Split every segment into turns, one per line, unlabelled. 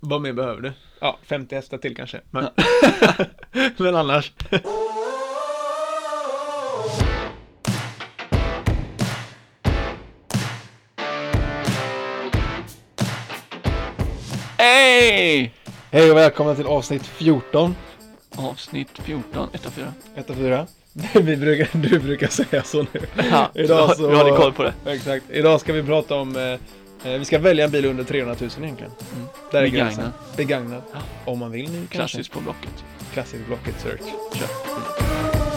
vad mer behöver du? Ja, 50 hästar till kanske. Men, men annars.
Hej!
Hej och välkomna till avsnitt 14.
Avsnitt 14, 1 av 4.
1 av 4. Vi brukar, du brukar säga så nu.
Ja,
Idag
du, har-
så-
du hade koll på det.
Exakt. Idag ska vi prata om, eh, eh, vi ska välja en bil under 300 000 egentligen.
Mm.
Där är
Begagnad.
gränsen. Begagnad.
Ja.
Om man vill nu kanske.
Klassiskt på Blocket.
Klassisk Blocket Search.
Kör.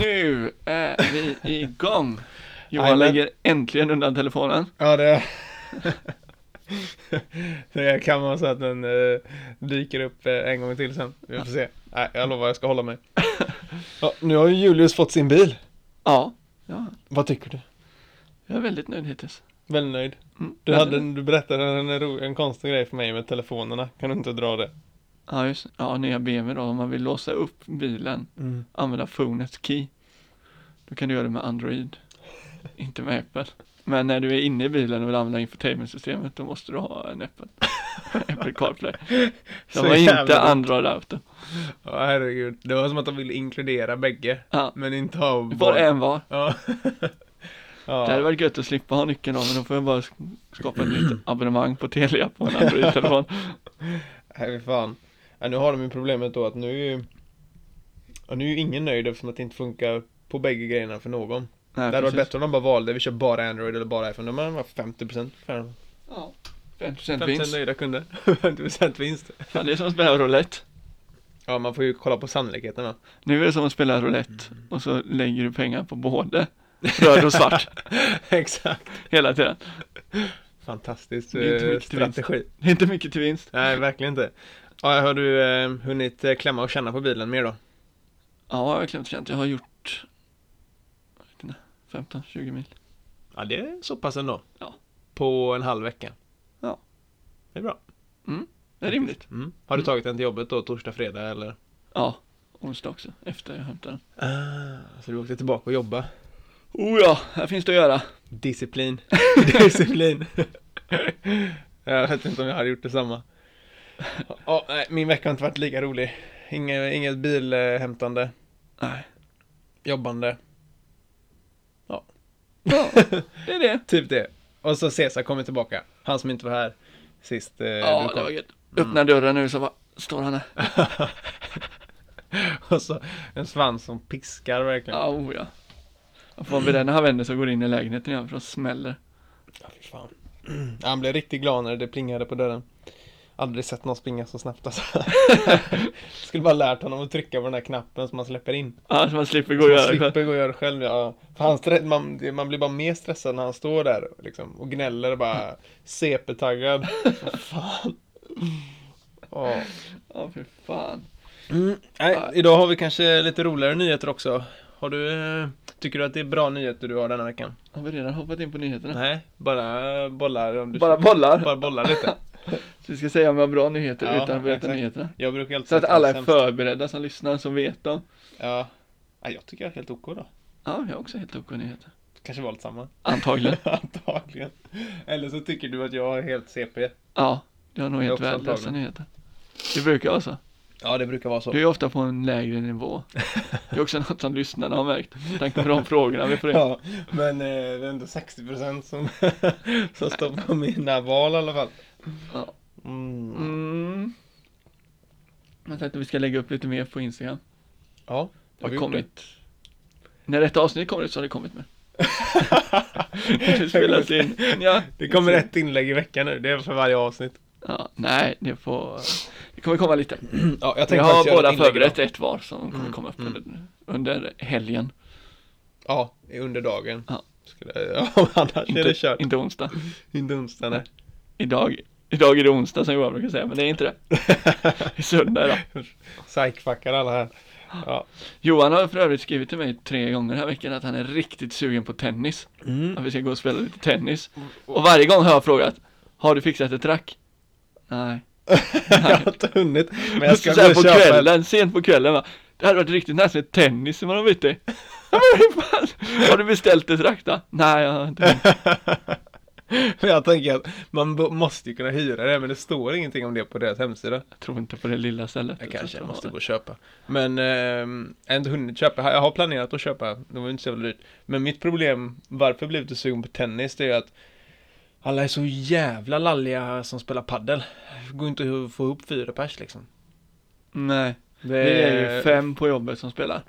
Nu är vi igång. Johan
Jajamän.
lägger äntligen undan telefonen.
Ja, det... det kan man säga att den eh, dyker upp eh, en gång till sen. Vi får se. Nej, jag lovar, jag ska hålla mig. Ja, nu har ju Julius fått sin bil.
Ja, ja,
Vad tycker du?
jag är väldigt nöjd hittills.
Väldigt nöjd.
Mm,
Du,
väldigt
hade,
nöjd.
du berättade en, ro, en konstig grej för mig med telefonerna. Kan du inte dra det?
Ja, just det. Ja, nya BMW då. Om man vill låsa upp bilen,
Mm.
använda phonets key. Då kan du göra det med Android. Inte med Apple. Men när du är inne i bilen och vill använda infotainmentsystemet, då måste du ha en Apple. Apple CarPlay.
Så
De har inte
jävla-
Android-auto.
Ja, herregud. Det var som att de ville inkludera bägge.
Ja.
Men inte ha...
Var en var.
Ja.
Det hade
ja.
varit gött att slippa ha nyckeln av, men då får jag bara sk- skapa ett nytt abonnemang på Telia på en Android-telefon.
Nej, fy fan. Ja, nu har de ju problemet då att nu är ju... Ja, nu är ju ingen nöjd eftersom att det inte funkar på bägge grejerna för någon.
Nej,
det hade varit
precis.
bättre om de bara valde, vi kör bara Android eller bara iPhone. De hade haft 50% för-
Ja, 50%
50%
vinst.
nöjda kunder. 50% vinst.
Fan, det är som att spela roulette.
Ja, man får ju kolla på sannolikheten va?
Nu är det som att spela roulette och så lägger du pengar på både röd och svart
Exakt.
hela tiden.
Fantastisk
Det är inte
eh,
mycket till vinst.
strategi.
Det är inte mycket till vinst.
Nej, verkligen inte. Ja, har du eh, hunnit eh, klämma och känna på bilen mer då?
Ja, jag har klämt och känt. Jag har gjort jag vet inte, 15-20 mil.
Ja, det är så pass ändå.
Ja.
På en halv vecka.
Ja.
Det är bra.
Det är rimligt.
Mm. Har du tagit den till jobbet då, torsdag, fredag eller?
Ja, onsdag också, efter jag hämtade den.
Ah, så du åkte tillbaka och jobba?
Oh ja, här finns det att göra.
Disciplin. Disciplin. jag vet inte om jag hade gjort detsamma. Ja, nej, min vecka har inte varit lika rolig. Inge, inget bilhämtande,
Nej.
jobbande,
Ja, det är det.
typ det. Och så Cesar kommer tillbaka, han som inte var här sist eh,
Ja,
du
det var
kom.
gött. Mm. Öppna dörren nu så bara, står han där.
Och så en svans som piskar verkligen.
Ja, oh ja. Jag får bli den när han vänder sig och går in i lägenheten igen för då smäller.
Ja, fy fan. Han blev riktigt glad när det plingade på dörren. Aldrig sett någon springa så snabbt alltså. Skulle bara lärt honom att trycka på den här knappen som man släpper in.
Ja, så man slipper gå
Så man
och göra det själv.
slipper gå och göra det själv. Ja. För han strä- man, det- man blir bara mer stressad när han står där liksom, och gnäller och bara CP-taggad. Vad fan. Ja.
Ja, fy fan.
Mm, nej, idag har vi kanske lite roligare nyheter också. Har du, eh, tycker du att det är bra nyheter du har denna veckan?
Har vi redan hoppat in på nyheterna?
Nej, bara bollar om du
Bara bollar.
bara bollar lite.
Så vi ska säga om vi har bra nyheter
Ja,
utan att berätta
exakt.
nyheterna.
Jag brukar alltid
Så att
säga de
alla är
sämsta.
förberedda som lyssnar, som vet dem.
Ja. ja, jag tycker jag är helt OK då.
Ja, jag har också helt OK nyheter.
Kanske valt samma. Mm.
Antagligen.
Antagligen. Eller så tycker du att jag är helt CP.
Ja, det har nog
Jag är
helt
också
värdelösa
antagligen.
nyheter. Det brukar vara så.
Ja, det brukar vara så.
Du är ofta på en lägre nivå. Det är också något som lyssnarna har märkt. Med tanke på de frågorna vi får in.
Ja, men eh, det är ändå 60% som, som står på mina val i alla fall.
Ja.
Mm.
Mm. Jag tänkte vi ska lägga upp lite mer på Instagram.
Ja,
Det har
vi gjort
kommit. När detta avsnitt kommer ut så har det kommit med.
det?
Det spelas in. Ja.
Det kommer ett inlägg i veckan nu, det är för varje avsnitt.
Ja, nej, det får... Det kommer komma lite. Mm,
Ja, jag
Vi
tänkte faktiskt
har
göra
båda
ett inlägg
förberett
idag.
ett var som kommer komma upp under, under helgen.
Ja, under dagen.
Ja.
Skulle, ja, annars är det
Inte,
kört.
inte onsdag.
Inte onsdag, nej.
Idag, idag är det onsdag som Johan brukar säga, men det är inte det. Det är söndag idag.
Psykfuckar alla här. Ja.
Johan har för övrigt skrivit till mig tre gånger den här veckan att han är riktigt sugen på tennis.
Mm.
Att vi ska gå och spela lite tennis. Och varje gång har jag frågat, har du fixat ett rack? Nej.
jag har inte hunnit. Men jag ska
så här
gå
på
och köpa ett-
kvällen, sent på kvällen va. Det hade varit riktigt nice med tennis som man har bytt till. Ja, men hur fan? Har du beställt ett rack då? Nej, jag har inte. hunnit.
Men jag tänker att man bo- måste ju kunna hyra det, men det står ingenting om det på deras hemsida.
Jag tror inte på det lilla stället.
Jag
tror
kanske
inte de
måste
har
gå och köpa. Men ehm, jag har inte hunnit köpa. Jag har planerat att köpa. Det var ju inte så jävla dyrt. Men mitt problem, varför jag blev lite sugen på tennis, det är att alla är så jävla lalliga som spelar paddel. Det går inte att få ihop fyra pers liksom. Eh,
det. Nej, det är ju fem på jobbet som spelar.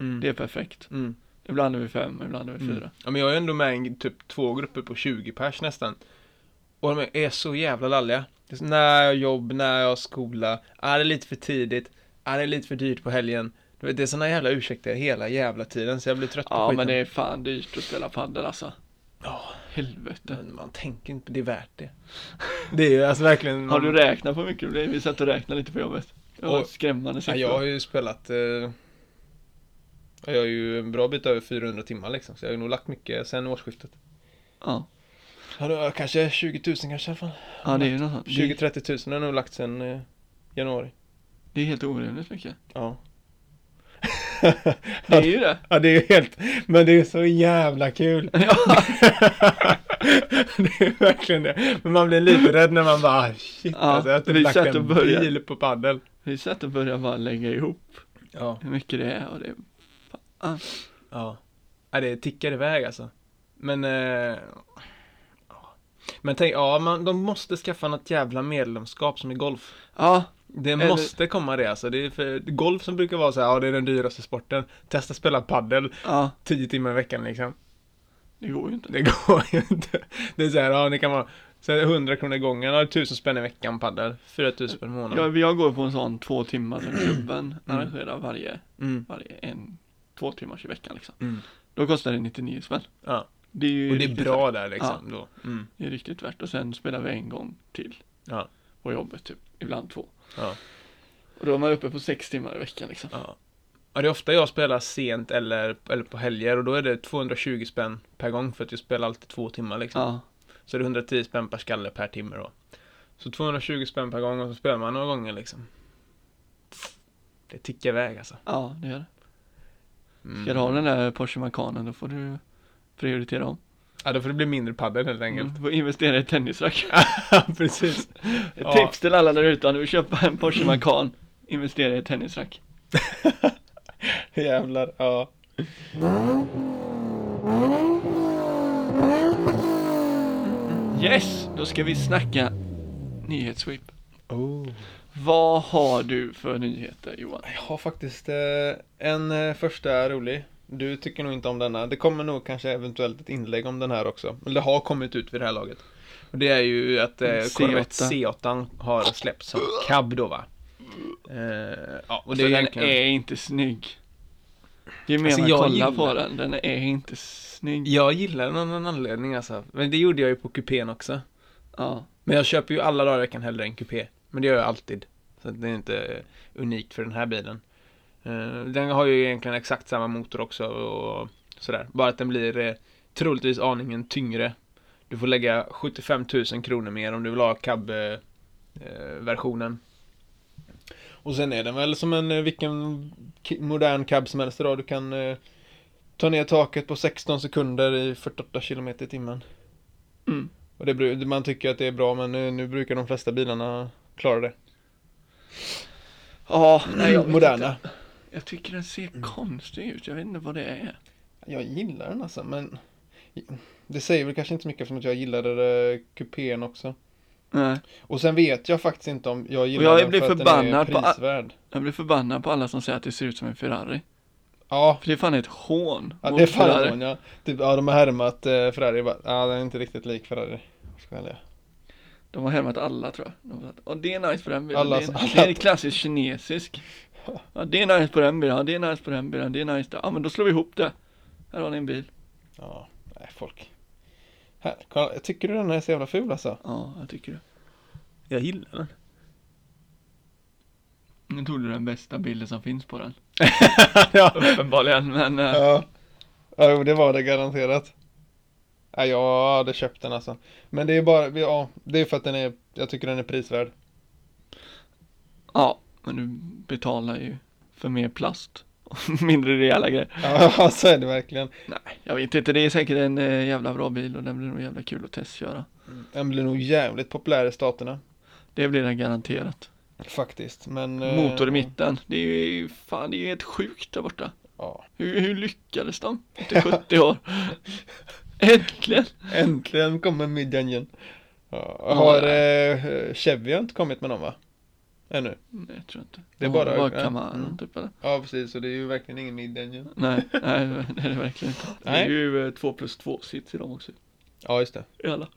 Mm.
Det är perfekt.
Mm.
Ibland är vi fem, ibland är vi
Mm.
fyra.
Ja, men jag är ändå med i en- typ två grupper på 20 pers nästan. Och de är så jävla lalliga. Det är så, när jag har jobb, när jag har skola, är det är lite för tidigt, är det är lite för dyrt på helgen. Du vet, Det är såna jävla ursäkter hela jävla tiden så jag blir trött på
Ja,
skiten.
men det är fan dyrt att spela padel alltså.
Ja.
Helvete.
Men man tänker inte, det är värt det. Det är ju alltså verkligen...
Har du räknat på hur mycket det blir? Vi satt och räknade lite på jobbet. Det var
Och-
skrämmande
ja,
siffror.
jag har ju spelat... Eh, jag har ju en bra bit över 400 timmar liksom, så jag har ju nog lagt mycket sen årsskiftet.
ja.
Ja, då har jag kanske 20 000 kanske i alla fall.
ja, det är ju något sånt. Det,
20-30 000 har jag nog lagt sen eh, januari.
det är helt orimligt mycket.
Ja.
Det är ju det.
ja, det är ju helt... Men det är så jävla kul!
Ja.
det är verkligen det. Men man blir lite rädd när man bara, ah, shit
Ja,
alltså, jag har typ
vi
lagt
satt
en
och började.
bil på paddel.
Det är så att börja bara lägga ihop
Ja.
hur mycket det är och det.
Ja. ja det tickar iväg alltså. Men... Eh, ja. men tänk, ja, man, de måste skaffa något jävla medlemskap som i golf.
Ja,
Det
Eller-
måste komma det alltså. Det är för, golf som brukar vara så här, ja det är den dyraste sporten. Testa spela paddel
ja,
10 timmar i veckan liksom.
det går ju inte.
Det går ju inte. Det är så här, ja ni kan vara så här, 100 kronor gången, ja, 1000 spänn i veckan paddel. 4000 spänn i månaden.
Jag, jag går på en sån två timmar som klubben arrangerar varje,
Mm.
varje en, två timmars i veckan liksom.
Mm.
Då kostar det 99 spänn.
Ja.
Det är ju
Och det är
riktigt
bra
värt.
där liksom då. Mm.
Det är riktigt värt och sen spelar vi en gång till
Ja.
på jobbet typ, ibland två.
Ja.
Och då är man uppe på sex timmar i veckan liksom.
Ja. ja, det är ofta jag spelar sent eller, eller på helger och då är det 220 spänn per gång för att jag spelar alltid två timmar liksom.
Ja,
Så det är 110 spänn per skalle per timme då. Så 220 spänn per gång och så spelar man några gånger liksom. Det tickar iväg alltså.
ja det gör det.
Mm.
Ska du ha den där Porsche Macanen då får du prioritera om. Mm.
Ja, då får det bli mindre padel helt enkelt.
Du får investera i ett tennisracket.
Precis.
Ett
Ja.
tips till alla där ute, om du vill köpa en Porsche Macan, investera i ett tennisrack.
Jävlar, ja.
Yes! Då ska vi snacka nyhetssweep.
Oh.
Vad har du för nyheter Johan?
Jag har faktiskt eh, en eh, första rolig. Du tycker nog inte om denna. Det kommer nog kanske eventuellt ett inlägg om den här också. Eller det har kommit ut vid det här laget. Och det är ju att eh,
C8.
Corvette C8 har släppts som cab då va? Eh, ja, och det är
alltså, den
egentligen...
är inte snygg. Ju mer
Alltså,
man
jag
kollar
gillar-
på den, den är inte snygg.
Jag gillar den av någon anledning alltså. Men det gjorde jag ju på kupén också.
Ja.
Men jag köper ju alla dagar i veckan hellre en kupé. Men det gör jag alltid. Så att det är inte eh, unikt för den här bilen. Eh, Den har ju egentligen exakt samma motor också och sådär. Bara att den blir eh, troligtvis aningen tyngre. Du får lägga 75 000 kronor mer om du vill ha eh, cab-versionen. Och sen är den väl som en eh, vilken ki- modern cab som helst idag. Du kan eh, ta ner taket på 16 sekunder i 48 km i timmen.
Mm.
Och det, bru- man tycker att det är bra men nu, nu brukar de flesta bilarna klara det.
Ja, nej, jag vet
Moderna.
Inte. Jag tycker den ser konstig ut, jag vet inte vad det är.
Jag gillar den alltså men det säger väl kanske inte så mycket eftersom att jag gillade eh, kupén också.
Nej.
Och sen vet jag faktiskt inte om jag gillar
jag
den
blir
för att den är
förbannad på all-
prisvärd.
Jag blir förbannad på alla som säger att det ser ut som en Ferrari.
Ja,
För det är fan ett hån.
ja
mot
det är fan
Ferrari.
någon, ja. Typ, ja, de har härmat eh, Ferrari. Bara, ja, den är inte riktigt lik Ferrari. Ska jag välja.
De har härmat alla tror jag. De har sagt, "Åh, det är nice på den bilen.
Alla
det,
som-
är,
alla-
det är klassiskt kinesisk. Ja, det är nice på den bilen, ja, det är nice på den bilen, det är nice där. Ja, men då slår vi ihop det. Här har ni en bil.
Ja, nej folk. Här, kolla, tycker du den här är så jävla ful alltså?
Ja, jag tycker det.
Jag gillar den.
Nu tog du den bästa bilden som finns på den.
ja.
Uppenbarligen, men eh,
Ja, ja jo, det var det garanterat. Ja, jag hade köpt den alltså. Men det är bara, ja, det är för att den är, jag tycker den är prisvärd.
Ja, men du betalar ju för mer plast och mindre rejäla grejer.
Ja, så är det verkligen.
Nej, jag vet inte. Det är säkert en eh, jävla bra bil och den blir nog jävla kul att testköra.
Den blir nog jävligt populär i staterna.
Det blir den garanterat.
Faktiskt, men... eh,
Motor i mitten. Det är ju fan, det är ju helt sjukt där borta.
Ja.
Hur, hur lyckades de efter 70 år? Äntligen!
Äntligen kommer mid-engine. Ja, har eh, Chevy har inte kommit med någon va? Ännu?
Nej, jag tror inte.
Det är bara-
Vad
ja.
kan man
Mm.
typ eller?
Ja, precis. Så det är ju verkligen ingen mid-engine.
Nej, nej, det är det verkligen inte. Det är
Nej.
ju 2 plus 2 sits i dem också.
Ja, just det.
I alla.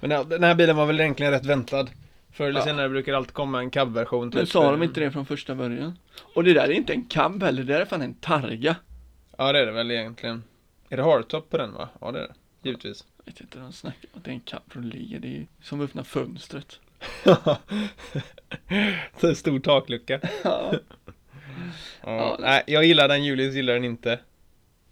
Men ja, den här bilen var väl egentligen rätt väntad. Förr eller
Ja.
senare brukar det alltid komma en cab-version.
Men
typ.
sa de inte det från första början? Och det där är inte en cab heller, det där är fan en targa.
Ja, det är det väl egentligen. Är det hardtop på den va? Ja, det är det. Givetvis.
Jag vet inte vad de snackar om, att det är en cabriolet, det är ju som att öppna fönstret.
Så en stor taklucka.
Ja.
Ja,
Ja,
nej, jag gillar den, Julius gillar den inte.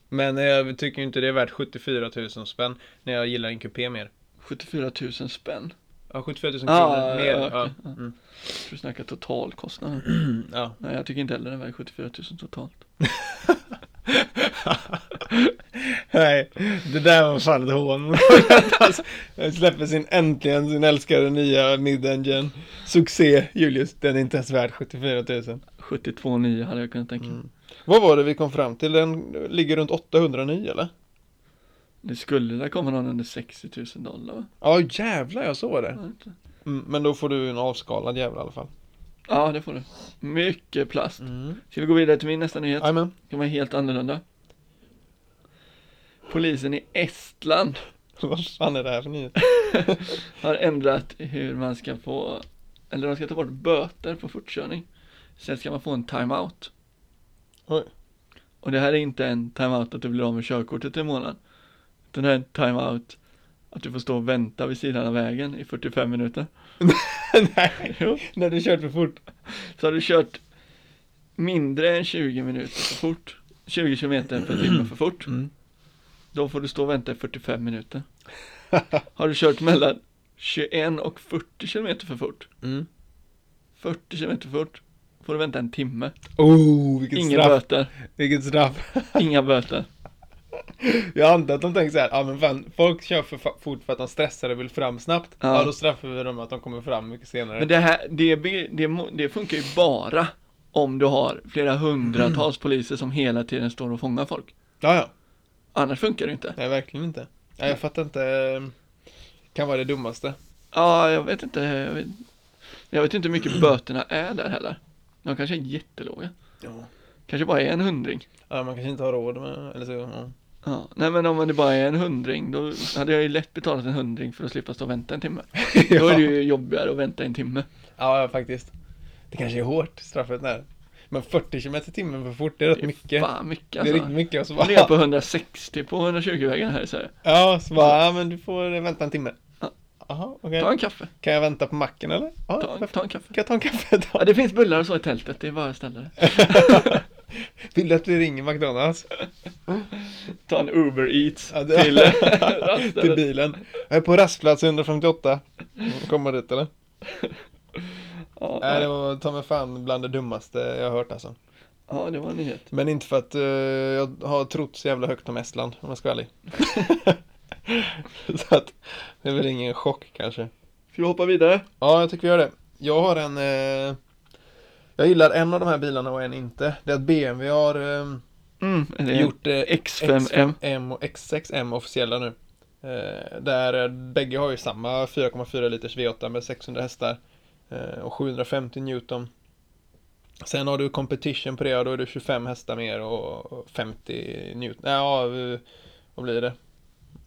Men jag tycker ju inte det är värt 74 000 spänn när jag gillar en kupé mer.
74 000 spänn.
Ja, 74 000 kronor
Ja, ja,
mer.
ja,
Ah, Ja,
okej. Ja.
mm.
Jag tror du snackar totalkostnaden.
ja.
Nej, jag tycker inte heller den väger 74 000 totalt.
Nej, det där var fan ett hån. Alltså, jag släpper sin, äntligen sin älskade nya mid-engine. Succé, Julius. Den är inte ens värd 74 000.
72,9 hade jag kunnat tänka mig.
Vad var det vi kom fram till? Den ligger runt 809 eller?
Det skulle där komma någon under 60 000 dollar va?
Ja jävlar, jag såg det.
Var det inte?
Mm, men då får du en avskalad jävel i alla fall.
Ja, det får du. Mycket plast. Ska vi gå vidare till min nästa nyhet?
Jajamän.
Det var helt annorlunda. Polisen i Estland
Vad fan är det här för nyhet?
har ändrat hur man ska få, eller de ska ta bort böter på fortkörning. Sen ska man få en timeout.
Oj.
Och det här är inte en timeout att du blir av med körkortet i en månad. Utan det här är en timeout att du får stå och vänta vid sidan av vägen i 45 minuter.
Nej,
Jo.
när du kört för fort.
Så har du kört mindre än 20 minuter för fort, 20 kilometer per timme för fort,
Mm.
då får du stå och vänta i 45 minuter. Har du kört mellan 21 och 40 kilometer för fort,
Mm.
40 kilometer för fort, får du vänta en timme.
Oh, vilket
Inga
straff.
böter,
Vilket straff.
inga böter.
Jag antar att de tänker så här, ja men fan, folk kör för fa- fort för att de stressar och vill fram snabbt. Ja.
Ja.
då straffar vi dem att de kommer fram mycket senare.
Men det här, det, be- det, mo- det funkar ju bara om du har flera hundratals poliser som hela tiden står och fångar folk.
Ja, ja.
Annars funkar det inte.
Nej, verkligen inte. Nej, jag fattar inte. eh, Kan vara det dummaste.
Ja, jag vet inte. Jag vet, jag vet inte hur mycket böterna är där heller. De kanske är jättelåga.
Ja.
Kanske bara är en hundring.
ja, man kanske inte har råd med, eller så. Ja.
Ja, nej men om det bara är en hundring, då hade jag ju lätt betalat en hundring för att slippa stå och vänta en timme. Då är det ju jobbigare att vänta en timme.
Ja, ja, faktiskt. Det kanske är hårt, straffet där. Men 40 km i timmen för fort, det är rätt
Det är
mycket.
Fan mycket
Det är
alltså.
riktigt mycket. Och så
Jag ligger på
bara,
160 på 120-vägen här i Sverige.
ja, så bara, ja, men du får vänta en timme.
Ja.
Jaha, okej.
Ta en kaffe,
Kan jag vänta på macken eller? Ja,
ta en,
perfekt.
ta en kaffe.
Kan jag ta en kaffe
Ja,
då?
det finns bullar och så i tältet, det är bara att ställa det.
Vill du att vi ringer McDonalds?
Ta en Uber Eats
Ja, det-
till
Till
raststället.
bilen. Jag är på rastplats 158. Kommer dit eller?
Ja,
Nej, det var ta mig fan bland det dummaste jag har hört alltså.
ja, det var en nyhet.
Men inte för att eh, jag har trott så jävla högt om Estland, om jag ska vara ärlig. så att, det är väl ingen chock kanske.
Ska vi hoppa vidare?
Ja, jag tycker vi gör det. Jag har en... Eh, jag gillar en av de här bilarna och en inte. Det är att BMW har eh,
Mm, det är
gjort eh,
X5M.
M och X6M officiella nu. Eh, där eh, bägge har ju samma 4,4 liters V8 med 600 hästar eh, och 750 Newton. Sen har du competition på det och då är det 25 hästar mer och 50 Newton. Ja, eh, vad blir det?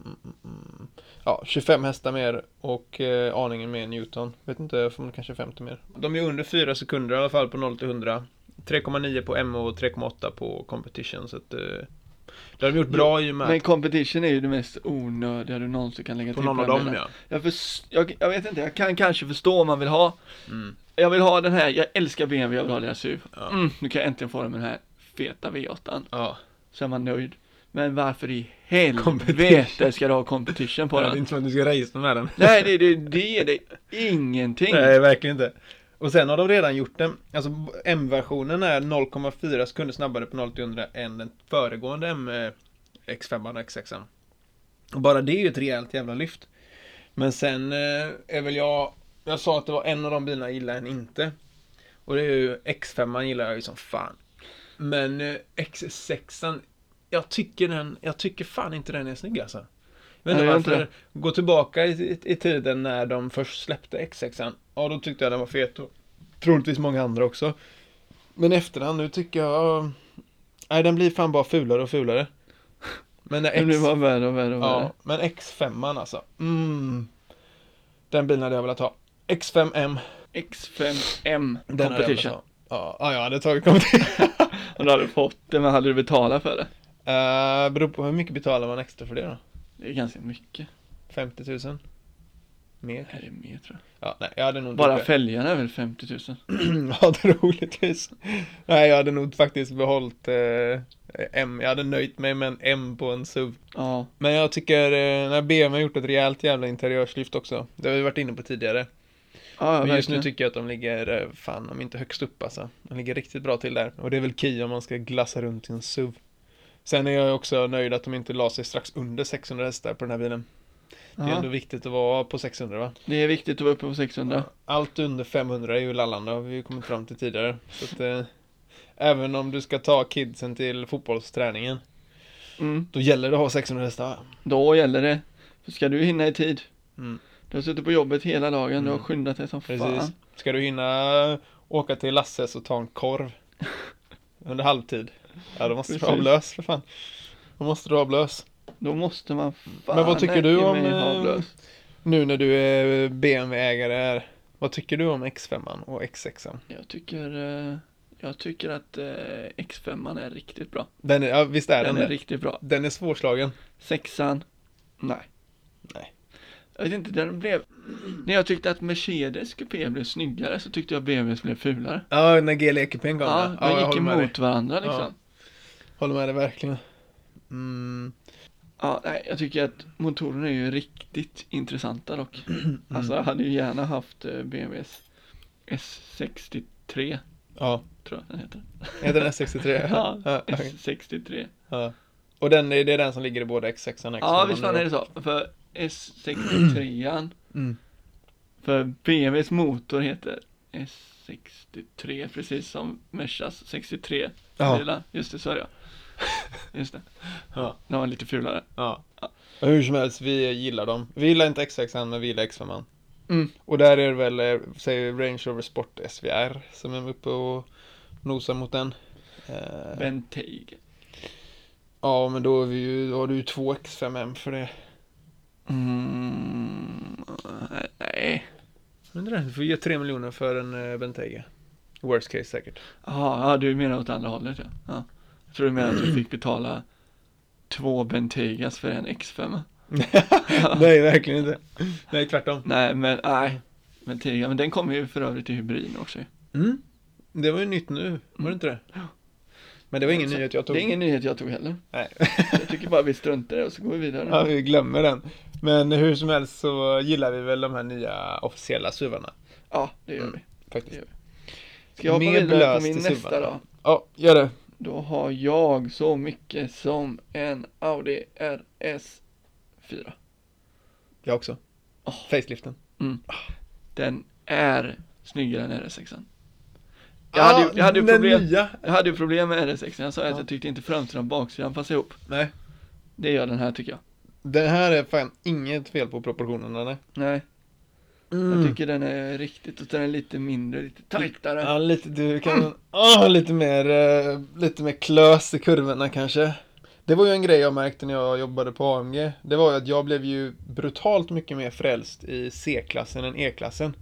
Mm, mm, mm. Ja, 25 hästar mer och eh, aningen mer Newton. Vet inte, förmodligen kanske 50 mer. De är under 4 sekunder i alla fall på 0 till 100. 3,9 på M och 3,8 på competition. Så att, eh, det har de gjort bra i och med
Men typ competition är ju det mest onödiga du någonsin kan lägga
På
till
någon av
den
dem
bilen.
ja.
jag, förs- jag, jag vet inte, jag kan kanske förstå om man vill ha
Mm.
Jag vill ha den här, jag älskar BMW, jag vill ha deras SUV
Ja.
mm, Nu kan jag äntligen få den med den här feta V8
ja.
Så är man nöjd Men varför i
Competition.
helvete ska du ha competition på
Ja, Det är
den?
inte som att du ska racea med den.
Nej, det, det, det ger dig ingenting
Nej, verkligen inte. Och sen har de redan gjort den. Alltså M-versionen är 0,4 sekunder snabbare på 0-100 än den föregående M eh, X5 och X6. Och bara det är ju ett rejält jävla lyft. Men sen eh, är väl jag... Jag sa att det var en av de bilarna jag gillar en inte. Och det är ju X5 gillar jag ju som fan. Men eh, X6 jag tycker den, jag tycker fan inte den är snygg alltså. Men
Nej,
inte
jag inte
varför, gå tillbaka i, i, i tiden när de först släppte X6an. Ja, då tyckte jag den var fet och troligtvis många andra också. Men i efterhand nu tycker jag, nej den blir fan bara fulare och fulare. Men när
Det
X,
blir bara värre och värre och värre.
ja, men X5an alltså. Mm. Den bilen hade jag velat ha. X5M.
X5M
Den hade jag velat
competition.
ha. Ja, ja, jag hade tagit competition.
Om du hade fått det, men hade du betalat för det?
uh, beror på hur mycket betalar man extra för det då?
Det är ganska mycket.
50 000? Mer?
Det här är mer tror
Ja, nej, jag hade nog
jag.
inte
Bara
gjort
fälgarna är väl 50 000?
det. Ja, troligtvis. Nej, jag hade nog faktiskt behållit eh, M. Jag hade nöjt mig med en M på en SUV.
Ja,
Men jag tycker, eh, när BMW har gjort ett rejält jävla interiörslyft också. Det har vi varit inne på tidigare.
ja
Men just
verkligen.
nu tycker jag att de ligger, eh, fan, om inte högst upp alltså. De ligger riktigt bra till där. Och det är väl Kia om man ska glassa runt i en SUV. Sen är jag också nöjd att de inte la sig strax under 600 hästar på den här bilen. Det är
Ja,
ändå viktigt att vara på 600 va?
det är viktigt att vara uppe på 600.
Allt under 500 är ju lallande har vi ju kommit fram till tidigare. Så att, eh, även om du ska ta kidsen till fotbollsträningen,
Mm.
då gäller det att ha 600 hästar.
Då gäller det. För ska du hinna i tid?
Mm.
Du har suttit på jobbet hela dagen, du har
Mm.
skyndat dig som
Precis.
fan.
Ska du hinna åka till Lasses och ta en korv under halvtid? Ja, då måste du
Precis.
ha lös för fan. Då måste du ha lös.
Då måste man fan
Men vad tycker du
i
om,
mig ha
eh,
avlös.
Nu när du är BMW-ägare här, vad tycker du om X5 och X6?
Jag tycker, eh, jag tycker att eh, X5 är riktigt bra.
Den är, ja, visst är den,
Den är
det?
riktigt bra.
Den är svårslagen.
Sexan? Nej.
Nej.
Jag vet inte, den blev... När jag tyckte att Mercedes kupé blev snyggare så tyckte jag BMWs blev fulare.
Ja, när GLE-kupén kom
Ja,
jag
de gick
håller med dig.
emot varandra liksom.
Håller med dig verkligen. Mm.
Ja, nej, jag tycker att motorerna är ju riktigt intressanta dock. Alltså jag hade ju gärna haft eh, BMWs S63,
Ja,
tror jag den heter.
heter den S63?
Ja,
okej.
S63.
ja. Och den, det är den som ligger i både X6 och X5?
Ja, visst fan är det så. För S63an,
Mm.
för BMWs motor heter S63, precis som Mercas 63
Ja.
bilar. Just det, så är det ja. Just det.
Ja.
Den var lite fulare.
Ja. Och Hur som helst, vi gillar dem. Vi gillar inte X6 men vi gillar X5.
Mm.
Och där är det väl, eh, säg Range Rover Sport SVR som är uppe och nosar mot den. Eh,
Bentayga.
ja, men då, är vi ju, då har du ju två X5M för det.
Mm, nej.
Undrar, du får ge tre miljoner för en eh, Bentayga. Worst case säkert.
Jaha, ja, du menar åt andra hållet ja. ja. Jag tror du menar att du fick betala två Bentaygas för en X5.
Nej, verkligen inte. Nej, tvärtom.
Nej, men nej. Bentayga, men den kommer ju för övrigt i hybrid också ju.
Mm. Det var ju nytt nu, var det inte det? Men Mm. det var ingen
Så-
nyhet jag tog.
Det är ingen nyhet jag tog heller.
Nej.
Jag tycker bara vi struntar i det och så går vi vidare.
ja, vi glömmer den. Men hur som helst så gillar vi väl de här nya officiella suvarna.
Ja, det gör vi.
Faktiskt.
Ska jag hoppa
Mer
vidare
blös
på min
till
nästa
suvarna.
då?
Ja, gör det.
Då har jag så mycket som en Audi RS4.
Jag också.
Åh.
Oh. Faceliften.
Den är snyggare än RS6. Jag hade, ju- jag hade ju
Ah, den
problem.
nya.
Jag hade ju problem med RS6, jag sa
Ja.
att jag tyckte inte framsidan och baksidan passade ihop.
Nej.
Det gör den här tycker jag.
Den här är fan inget fel på proportionerna. Nej. Mm.
Nej, jag tycker den är riktigt, och den är lite mindre, lite tajtare.
Ja, lite, du kan, ah, lite mer, eh, lite mer klös i kurvorna kanske. Det var ju en grej jag märkte när jag jobbade på AMG. Det var ju att jag blev ju brutalt mycket mer frälst i C-klassen än E-klassen.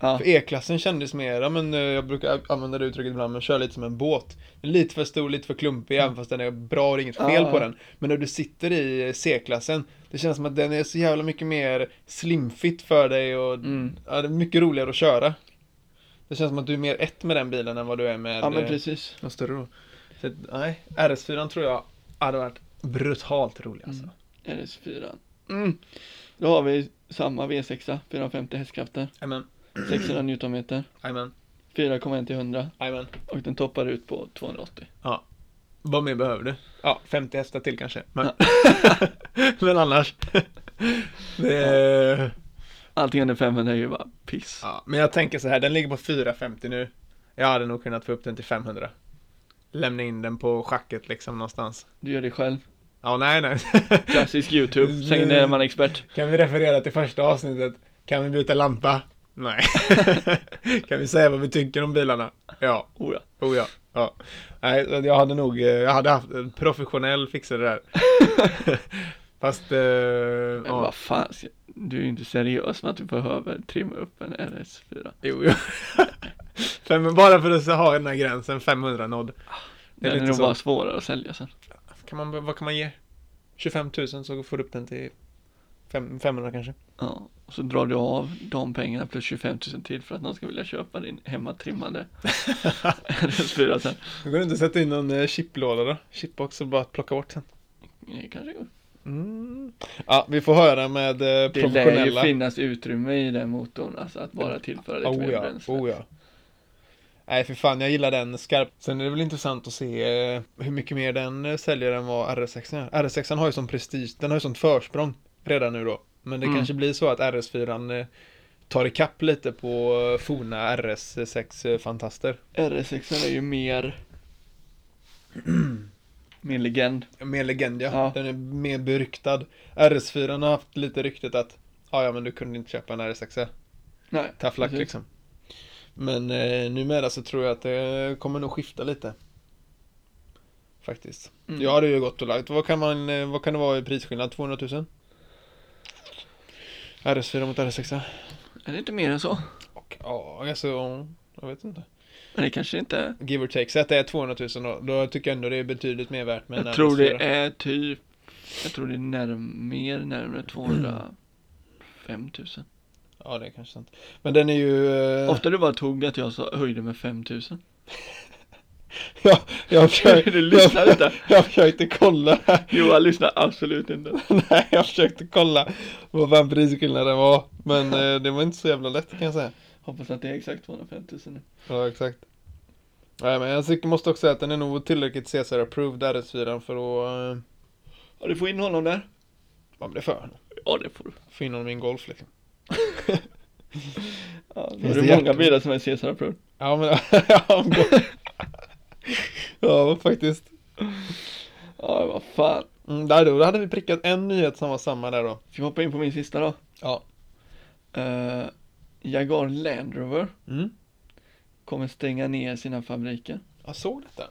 Ja,
För E-klassen kändes mer, ja, men eh, jag brukar använda det uttrycket ibland, men kör lite som en båt. Lite för stor, lite för klumpig, även fast den är bra och det är inget fel
Mm. Ja.
på den. Men när du sitter i eh, C-klassen, det känns som att den är så jävla mycket mer slimfit för dig och
mm.
ja, det är mycket roligare att köra. Det känns som att du är mer ett med den bilen än vad du är med
ja men
eh,
precis.
de större då. Så, att, nej, RS4 tror jag hade varit brutalt rolig alltså.
Mm. RS4. Mm. Då har vi samma V6, 450 hästkrafter,
Jajamän,
600 newtonmeter.
jajamän.
4,1 till 100
Jajamän.
och den toppar ut på 280.
Vad mer behöver du? Ja, 50 hästar till kanske. Men, men annars. det är...
Allting under 500 är ju bara piss.
ja, men jag tänker så här, den ligger på 450 nu. Jag hade nog kunnat få upp den till 500. Lämna in den på schacket liksom någonstans.
Du gör det själv.
Ja, nej, nej.
Klassisk YouTube, sen är man expert.
Kan vi referera till första avsnittet? Kan vi byta lampa? Nej. kan vi säga vad vi tycker om bilarna? Ja.
Oh ja.
Oh ja. ja. Nej, så jag hade nog, eh, jag hade haft en professionell fixare där. Fast, eh,
Men
ja.
vad fan, ska- du är ju inte seriös med att du behöver trimma upp en RS4.
Jo, jo. Fem, bara för att så ha den här gränsen, 500 nodd. Det är
Den är
lite
nog
så.
bara svårare att sälja sen.
Kan man, vad kan man ge? 25 000 så får du upp den till fem- 500 kanske.
Ja, och så drar du av de pengarna plus 25 000 till för att någon ska vilja köpa din hemmatrimmade RS4 sen.
Det går inte att sätta in någon eh, chiplåda då? Chipbox och bara att plocka bort sen.
Det kanske går.
Mm. Ja, vi får höra med eh,
Det lär ju
professionella.
finnas utrymme i den motorn, alltså att bara tillföra lite
Oh
mer
ja,
bränsle.
oh ja. Nej, för fan, jag gillar den skarp. Sen är det väl intressant att se eh, hur mycket mer den eh, säljer än vad RS6 är. RS6 har ju sån prestige, den har ju sånt försprång redan nu då. Men det
Mm.
kanske blir så att RS4 eh, tar ikapp lite på eh, forna RS6-fantaster.
RS6 är ju mer Mer legend.
Mer legend, ja.
Ja.
Den är mer beryktad. RS4 har haft lite ryktet att "Ah, ja, ja, men du kunde inte köpa en RS6. -a.
Nej,
Tough luck
precis.
liksom. Men eh, numera så tror jag att det kommer nog skifta lite. Faktiskt.
Mm.
Jag hade ju gått och lagt, vad kan, man, eh, vad kan det vara i prisskillnad? 200 000? RS4 mot RS6?
Är det inte mer än så?
Och, ja, alltså, jag vet inte.
Men det kanske inte är.
Give or take, så att det är 200 000 då, då tycker jag ändå det är betydligt mer värt med en
Jag tror det
RS4.
är typ Jag tror det är närm, mer närmare 205 000
Ja, det är kanske sant. Men den är ju... eh,
Ofta du bara tog det att jag sa, höjde med 5 000
ja, jag, försökte,
Du lyssnar inte
jag försökte kolla.
Johan lyssnar absolut inte
Nej, jag försökte kolla vad fan prisskillnaden var. Men eh, det var inte så jävla lätt kan jag säga.
Hoppas att det är exakt 205 000 nu
Ja, exakt. Nej, men jag tycker, måste också säga att den är nog tillräckligt CSR-approved, RS4, för att... Eh,
Ja du får in honom där
ja, men det får jag nog.
Ja det får du
Få in honom i en golf liksom.
ja, då
Finns
är det
det
många
hjärtat?
bilar som är Cesar Pro
Ja, men... ja, en golf. ja, faktiskt.
Ja vad fan
Mm, där då, då hade vi prickat en nyhet som var samma där då.
Ska vi hoppa in på min sista då?
Ja.
Eh, Jaguar Land Rover
Mm.
kommer stänga ner sina fabriker
Jag såg detta.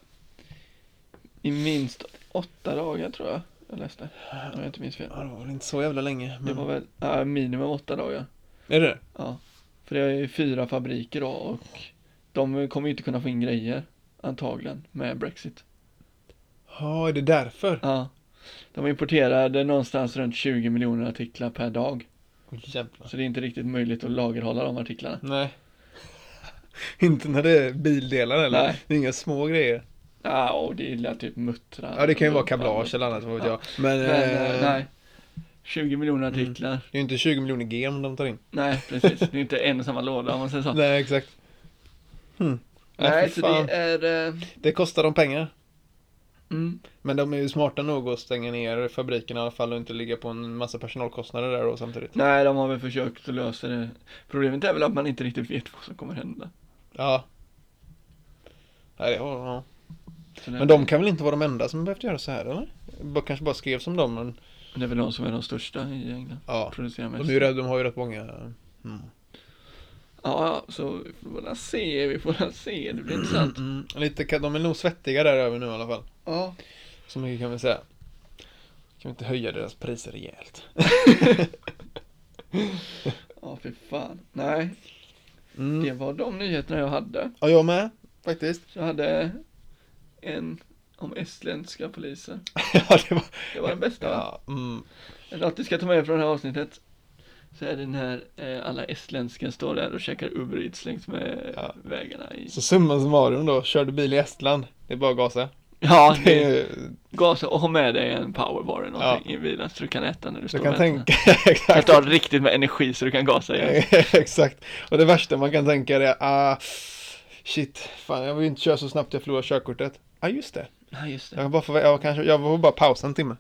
I minst åtta dagar tror jag jag läste Om jag inte minns fel
Ja, det var väl inte så jävla länge. Men...
Det var väl ja, minimum åtta dagar
Är det det?
Ja, för det är ju fyra fabriker då och de kommer ju inte kunna få in grejer antagligen med Brexit.
Ja, är det därför?
Ja, de importerade någonstans runt 20 miljoner artiklar per dag.
Åh, jävlar.
Så det är inte riktigt möjligt att lagerhålla de artiklarna.
Nej. Inte när det är bildelar eller?
Nej.
Det är inga små grejer.
Ja, och det lär typ muttra.
Ja, det kan ju vara kablage eller annat, vad vet
Ja.
jag. Men,
Men,
eh,
eh, nej. 20 miljoner
Mm.
artiklar.
det är ju inte 20 miljoner gem de tar in.
Nej, precis. Det är inte en och samma låda om man säger så. Nej,
Nej, exakt. Hmm. Nej, för
så
fan.
det är... eh,
Det kostar dem pengar.
Mm,
Men de är ju smarta nog att stänga ner fabriken i alla fall och inte ligga på en massa personalkostnader där då samtidigt.
nej, de har väl försökt att lösa det. Problemet är väl att man inte riktigt vet vad som kommer hända.
Ja. Nej, det har ja.
Så det-
Men de kan väl inte vara de enda som behövt göra så här eller? Bara- Kanske bara skrevs om dem men
Det är väl de som är de största i England.
ja.
Producerar mest.
De, är ju, rätt- de har ju rätt många. Mm.
Ja, så vi får väl se, vi får väl se. Det blir intressant.
Mm, lite, ka- de är nog svettiga där över nu i alla fall.
Ja.
Så mycket kan vi säga. Kan vi inte höja deras priser rejält?
Ja, fy fan. Nej, det var de nyheterna jag hade.
Mm. Ja, jag med faktiskt.
Så jag hade en om estländska poliser.
ja, det var...
Det var den bästa va?
Ja, mm.
Eller Något du ska ta med från det här avsnittet. Så är det den här, eh, alla estländska står där och käkar Uber Eats längs med
Ja.
vägarna i...
Så summan summarum då, kör du bil i Estland, det är bara att gasa.
Ja,
Det
det
är
är...
ju,
gasa och ha med dig en powerbar eller någonting i bilen så du kan äta när du står
du
och
kan
väntar.
tänka,
Kan
exakt.
ta riktigt med energi så du kan gasa igen.
exakt. Och det värsta man kan tänka är, ah, Shit, fan jag vill inte köra så snabbt jag förlorar körkortet. Ja ah, just det.
Nej, just
Jag
det.
kan bara får, jag kanske, jag får bara pausa en timme.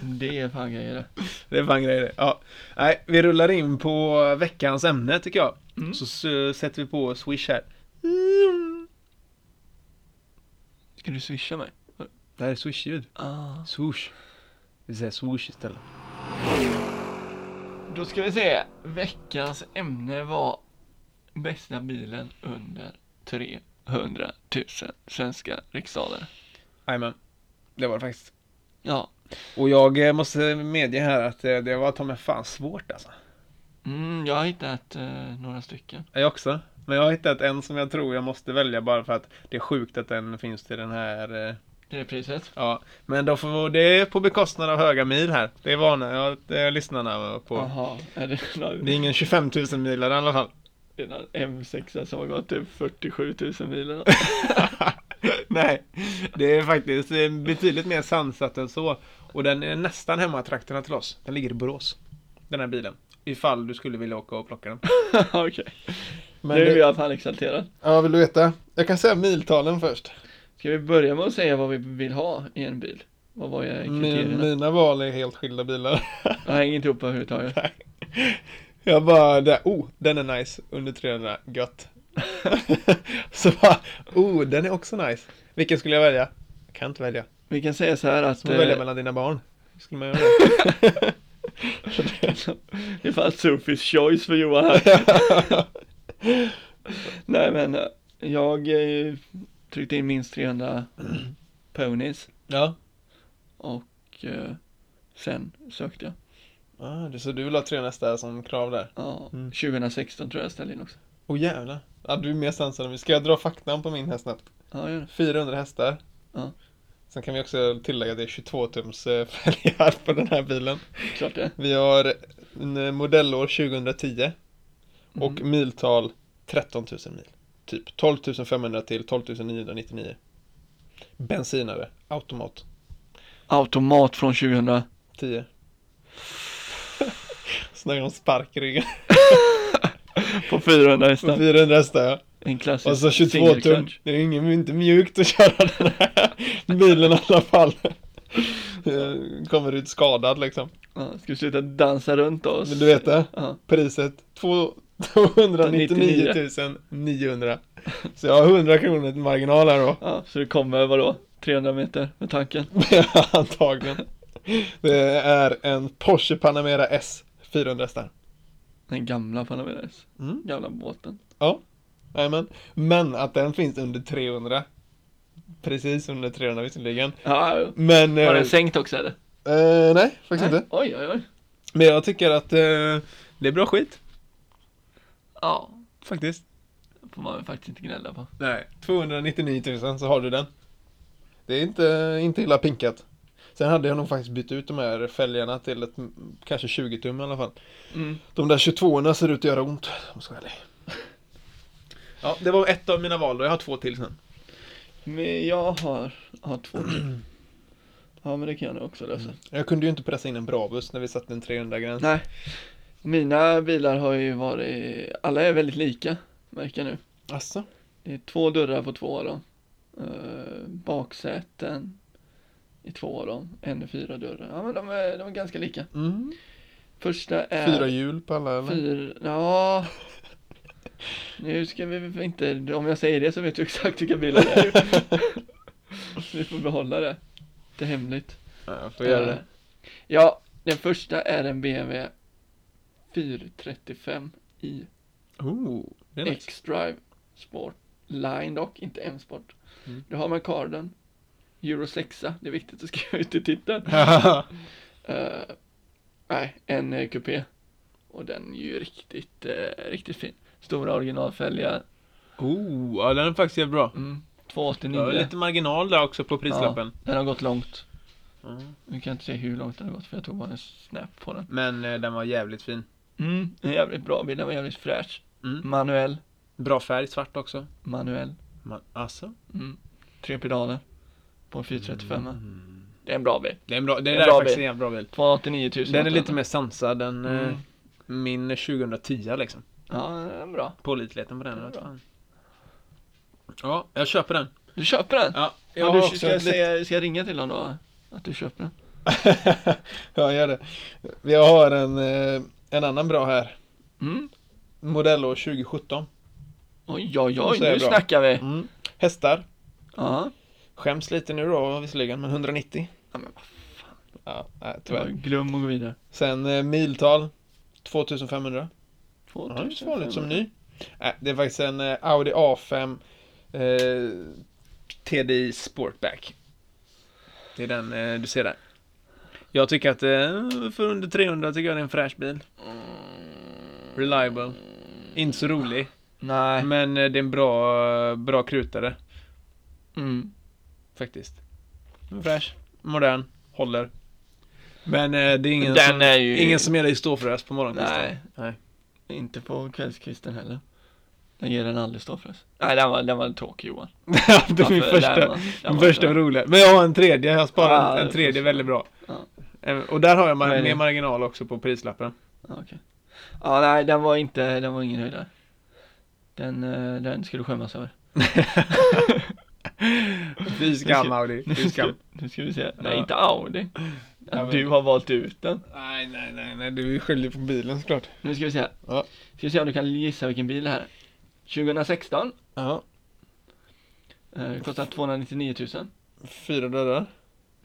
Det är fan grejer det.
Det är fan grejer det. Ja. Nej, vi rullar in på veckans ämne tycker jag.
Mm.
Så, s- sätter vi på Swish här.
Ska du swisha mig?
Det här är Swish-ljud.
Ah.
Swoosh. Vi säger swoosh istället.
Då ska vi se. Veckans ämne var bästa bilen under 300 000 svenska riksdaler.
Jajamän. Det var det faktiskt.
Ja.
Och jag eh, måste medge här att eh, det var ta mig fan svårt alltså.
Mm, jag har hittat eh, några stycken.
Jag också. Men jag har hittat en som jag tror jag måste välja bara för att det är sjukt att den finns till den här. eh,
Det är priset.
Ja, men då får det är på bekostnad av höga mil här. Det är vana jag, jag lyssnarna på.
Jaha, är det någon,
Det är ingen 25 000 milare i alla fall.
det är någon M6 som har gått typ 47 000 mil eller något?
Nej, det är faktiskt eh, betydligt mer sansat än så. Och den är nästan hemmatrakterna till oss. Den ligger i Borås. Den här bilen. Ifall du skulle vilja åka och plocka den.
Okej, nu är jag fan exalterad.
Ja, vill du veta? Jag kan säga miltalen först.
Ska vi börja med att säga vad vi vill ha i en bil? Vad var jag kriterierna?
mina val är helt skilda bilar.
Jag hänger inte ihop överhuvudtaget.
Jag bara, där, oh, den är nice, under 300, gött. så bara, oh, den är också nice. Vilken skulle jag välja? Jag kan inte välja.
Vi kan säga så här att
Som att välja
eh,
mellan dina barn. Hur skulle man göra det?
det är fan Sofis choice för Johan här. Nej men, eh, jag eh, tryckte in minst 300 ponies
ja.
och eh, sen sökte jag.
Ah, det- så du vill ha tre nästa som krav där?
Ja,
Mm.
2016 tror jag jag ställde in också.
Åh oh, jävlar. Ja, du är mer sansad än vi. Ska jag dra faktan på min här snabbt?
Ja, gör det.
400 hästar.
Ja.
Sen kan vi också tillägga att det är 22 tums eh, fälgar på den här bilen.
Klart det.
Vi har en eh, modellår 2010 och
Mm.
miltal 13 000 mil. Typ 12 500 till 12 999. Bensinare, automat,
Automat från 2000.
10. Snacka om sparkryggen.
På 400 hästar.
400 hästar ja.
En klassisk
Och så 22
single
Alltså, tum.
clutch.
Det är ingen, inte mjukt att köra den här bilen i alla fall. Eh, Kommer ut skadad liksom.
Ja, ska vi sluta dansa runt oss?
Vill du veta?
Ja.
Priset två- 299 900. Så jag har 100 kronor till marginal här då.
ja, så du kommer vadå? 300 meter med tanken?
Antagligen. Det är en Porsche Panamera S 400 hästar.
Den gamla Panameras.
Mm.
Gamla båten.
Jajamän. Men att den finns under 300. Precis under 300 visserligen.
Ja, ja.
Men...
Har
eh,
den sänkt också eller?
eh, nej, faktiskt inte.
Oj, oj, oj.
Men jag tycker att eh, det är bra skit,
Ja,
faktiskt.
det får man väl faktiskt inte gnälla på.
Nej, 299 000 så har du den. Det är inte, inte illa pinkat. Sen hade jag nog faktiskt bytt ut de här fälgarna till ett, mm, kanske 20 tum i alla fall.
Mm.
De där 22 ser ut att göra ont, om jag ska vara ärlig. Ja, det var ett av mina val då. Jag har två till sen.
Men jag har, har två till. Ja, men det kan jag nog också lösa.
Jag kunde ju inte pressa in en Brabus när vi satte en 300-gräns.
Nej. Mina bilar har ju varit, alla är väldigt lika, märker jag nu.
Alltså?
Det är två dörrar på två av dem. Eh, baksäten i två av dem. En och fyra dörrar. Ja men de är, de är ganska lika.
Mm.
Första är...
Fyra hjul på alla eller?
Eh. Fyra, ja. Nu ska vi väl inte, om jag säger det så vet du exakt vilka bilar det är. vi får behålla det. Det är hemligt.
Ja, jag får göra
Eh,
det.
Ja, den första är en BMW 435 i
Oh, det är nice.
X-Drive Sport Line dock, inte M-Sport.
Mm.
Du har man karden. Euro 6, det är viktigt att skriva ut i titeln. Eh, nej, en eh, kupé. Och den är ju riktigt, eh, riktigt fin. Stora originalfälgar.
oh, ja den är faktiskt jävligt bra.
Mm,
Det var
289.
lite marginal där också på prislappen.
Den har gått långt.
Mm.
Nu kan jag inte se hur långt den har gått för jag tog bara en snap på den.
Men eh, den var jävligt fin.
Mm, en jävligt bra bil, den var jävligt fräsch.
Mm.
Manuell,
Bra färg, svart också.
manuell.
Man, alltså?
Mm. Tre pedaler. På en 435.
Mm.
Det är en bra bil.
Det är en bra, det är
En
där
bra
faktiskt
bil.
en jävla bra bil.
289 000.
Den är lite mer sansad än eh,
Mm.
min 2010 liksom.
Ja, den är bra.
Pålitligheten på den.
Den är
vet
bra.
fan. Ja, jag köper den.
Du köper den?
Ja, jag
Ja,
har
du,
också
ska, jag
ett litet-
säga, ska jag ringa till honom då? Att du köper den?
ja, gör det. Jag har en, eh, en annan bra här.
Mm.
Modellår 2017.
Oj, oj, oj,
Så är det
nu
bra.
snackar vi!
Mm. Hästar.
Ja,
Skäms lite nu då visserligen, men 190.
Ja, men
Ja, nej,
det var
tyvärr.
ju glöm att gå vidare.
Sen eh, miltal. 2500. Ja, det är
2005.
så vanligt som ny. Nej, det är faktiskt en eh, Audi A5 eh, TDI Sportback. Det är den eh, du ser där. Jag tycker att eh, för under 300 tycker jag det är en fräsch bil. Reliable. Inte så rolig.
Mm. Nej.
Men eh, det är en bra, bra krutare
Mm.
faktiskt. Fräsch, modern, håller. Men eh, det är ingen,
Den
som,
är ju-
ingen som ger dig ståfrös på morgonkvisten.
Nej.
Nej.
Inte på kvällskvisten heller. Den ger den aldrig stå för oss. Nej, den var, den var tråkig Johan.
det var min
Varför?
första.
Den var- den
Den
var-
första var roliga. Men jag har en tredje, jag sparar
Ja,
en- en
det
tredje
förstår
väldigt bra.
Ja.
Eh, Och där har jag
Vad är
mar-
det?
mer marginal också på prislappen.
Ja, okej. Ja, nej, den var inte, den var ingen höjdare. Den, eh, den ska du skämmas över.
Fy skam Audi,
Nu
fy skam.
ska, nu ska vi se. Nej,
Ja.
inte Audi.
Ja,
Att
men-
du har valt ut den.
Nej, nej, nej, nej, du är skyldig på bilen såklart.
Nu ska vi se.
Ja.
Ska vi se om du kan gissa vilken bil det här är. 2016.
Ja,
Eh, det kostar 299 000.
fyra dörrar.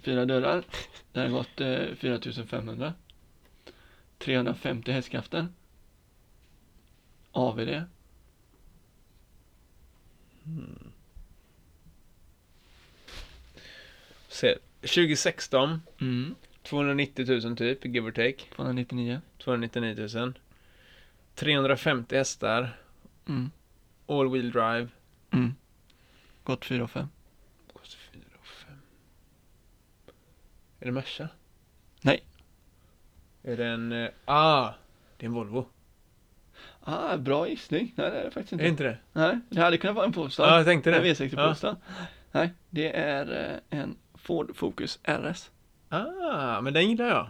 Fyra dörrar. Det har gått eh, 4 500. 350 hästkrafter. AVD.
Ser. 2016,
Mm.
290 000 typ, give or take.
299.
299 000. 350 hästar,
Mm.
all wheel drive.
Mm. Gått 4 5.
Kostar 4 5. Är det Merca?
Nej.
Är det en... eh, Ah! Det är en Volvo.
Ah, bra gissning. Nej, det är det faktiskt
Är
inte.
det inte det?
Nej, det hade kunnat vara en Polestar.
Ja, jag tänkte
en
det.
V60 Polestar. Nej, det är eh, en Ford Focus RS.
Ah, men den gillar jag.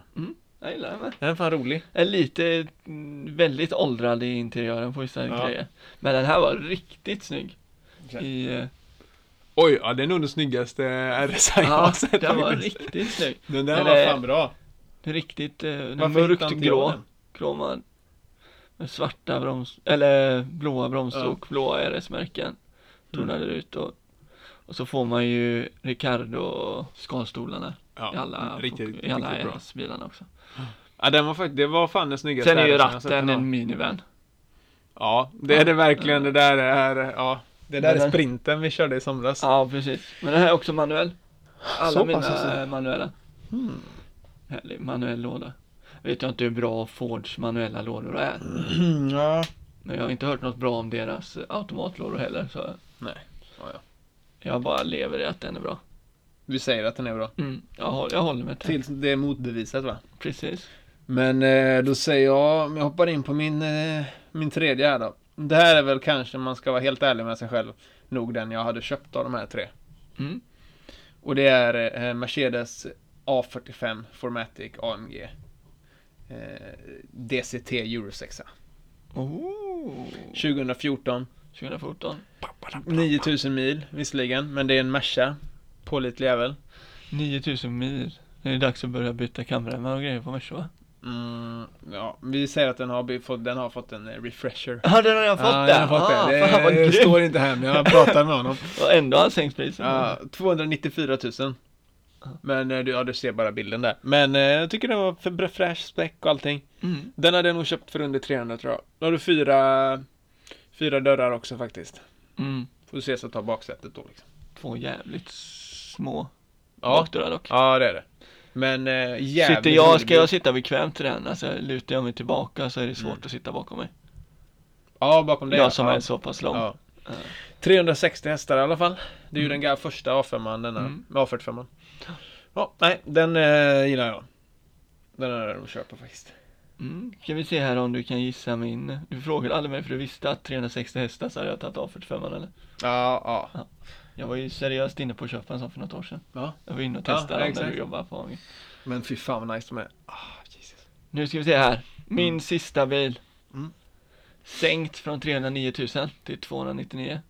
Jag gillar den med.
Den är fan rolig.
En lite mm, väldigt åldrad i interiören på vissa
Ja.
grejer. Men den här var riktigt snygg. I, eh,
Oj, ja, det är nog den snyggaste eh, RSI jag har
ja,
sett.
den var
faktiskt.
riktigt snygg.
Den där
den
var
är-
fan bra.
Riktigt eh, den
Varför hittar
mörkt
inte jag
grå.
den?
Kromad. Med svarta broms, eller blåa bromsstråk,
Ja. Mm.
blåa RS-märken. Tonade ut och, och så får man ju Ricardo skalstolarna i alla, i alla RS-bilarna också.
Ja, den var faktiskt, det var fan den snyggaste
Sen är ju
RSI jag har sett
ratten
ändå.
en minivan.
Ja, det är det verkligen. Det där är, ja. Det där
Den
är
där-
sprinten vi körde i somras.
Ja, precis. Men den här är också manuell. Alla
Så
mina
pass alltså. Hmm.
är manuella. Härlig manuell låda. Vet jag inte hur bra Fords manuella lådor är.
Mm. ja.
Men jag har inte hört något bra om deras automatlådor heller. Så
Nej. Ja, ja.
jag bara lever i att den är bra.
Du säger att den är bra.
Mm, jag, håller, jag håller med till.
Tills det är motbevisat va?
Precis.
Men eh, då säger jag, om jag hoppar in på min, eh, min tredje här då. Det här är väl kanske, om man ska vara helt ärlig med sig själv, nog den jag hade köpt av de här tre.
Mm.
Och det är eh, Mercedes A45 Formatic AMG. Eh, DCT Euro 6.
Oh.
2014,
2014.
9000 mil visserligen, men det är en Merca. Pålitlig jävel.
9000 mil. Det är dags att börja byta kameraman och grejer på Merca va?
Mm, ja, vi säger att den har, be- fått, den har fått en eh, refresher.
Ja, den har jag fått
Ja,
där.
jag har fått
ah,
det. Det,
Fan vad
det
grymt.
står inte här, men jag pratar med honom.
Och ändå har han sänkt priset.
Ja, 294 000. Men eh, du, ja, du ser bara bilden där. Men eh, jag tycker den var för bra- fräsch späck och allting.
Mm.
Den hade jag nog köpt för under 300 tror jag. Då har du fyra, fyra dörrar också faktiskt.
Mm.
Får se så att ta baksätet då. Liksom.
Två jävligt små
Ja.
bakdörrar dock.
ja, det är det. Men eh, jävligt
Sitter jag,
rolig
ska
bil.
jag sitta bekvämt i den? Alltså lutar jag mig tillbaka så är det svårt att sitta bakom mig.
Ja, bakom dig. ja.
jag som
ja.
är så pass lång.
Ja. Mm.
Ja.
360 hästar i alla fall. Det är ju den gamla första A5, denna,
Mm.
A45. Ja, nej, den eh, gillar jag. Den är den att köpa faktiskt.
Mm. Ska vi se här om du kan gissa min. Du frågade aldrig mig för du visste att 360 hästar så hade jag tagit av 45 eller?
Ja, ja.
Jag var ju seriöst inne på att köpa en sån för något år sedan.
Ja.
Jag var inne och
Ja,
testade den när
exakt.
du jobbade på Hagen.
Men fy fan vad nice de är. Ah, Jesus.
Nu ska vi se här. Min sista bil.
Mm.
Sänkt från 309 000 till 299.